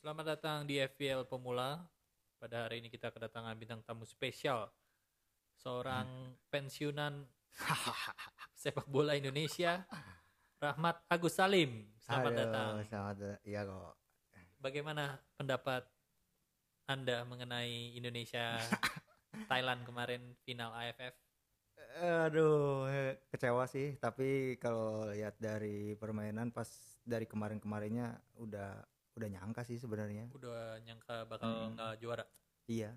selamat datang di FPL Pemula. Pada hari ini kita kedatangan bintang tamu spesial. Hmm. Seorang pensiunan sepak bola Indonesia, Rahmat Agus Salim. Selamat Halo, datang. Selamat datang. Iya kok. Bagaimana pendapat Anda mengenai Indonesia Thailand kemarin final AFF? Aduh, eh, kecewa sih. Tapi kalau lihat dari permainan pas dari kemarin-kemarinnya udah udah nyangka sih sebenarnya. Udah nyangka bakal Hmm. nggak juara. Iya.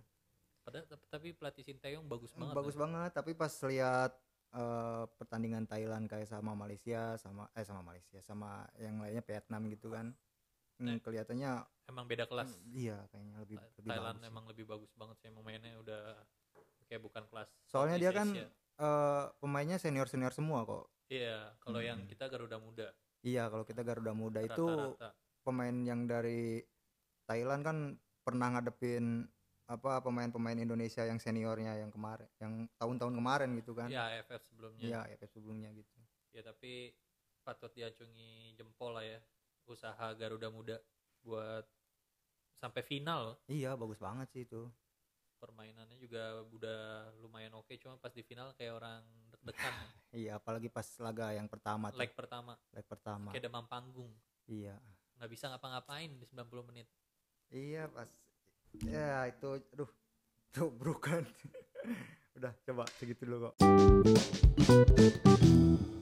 Padahal tapi pelatih Sinteyong bagus banget. Hmm, Bagus loh. banget. Tapi pas lihat eh, pertandingan Thailand kayak sama Malaysia, sama eh sama Malaysia, sama yang lainnya Vietnam gitu kan. Hmm, Eh. kelihatannya Emang beda kelas. hmm, iya kayaknya lebih Tha- lebih Thailand bagus sih. emang lebih bagus banget sih emang mainnya udah kayak bukan kelas. Soalnya dia Southeast Asia. kan eh, pemainnya senior-senior semua kok. Iya, kalau yang Mm-mm. kita Garuda Muda Iya, kalau kita Garuda Muda Hmm. itu rata-rata. pemain yang dari Thailand kan pernah ngadepin apa pemain-pemain Indonesia yang seniornya yang kemarin yang tahun-tahun kemarin gitu kan Iya, AFF sebelumnya. Iya, EPS sebelumnya gitu Ya tapi patut diacungi jempol lah ya usaha Garuda Muda buat sampai final iya bagus banget sih itu permainannya juga udah lumayan oke cuma pas di final kayak orang deg-degan ya. iya apalagi pas laga yang pertama tuh, leg pertama leg pertama kayak demam panggung iya nggak bisa ngapa-ngapain di 90 menit iya pas ya itu aduh tuh bukan udah coba segitu dulu kok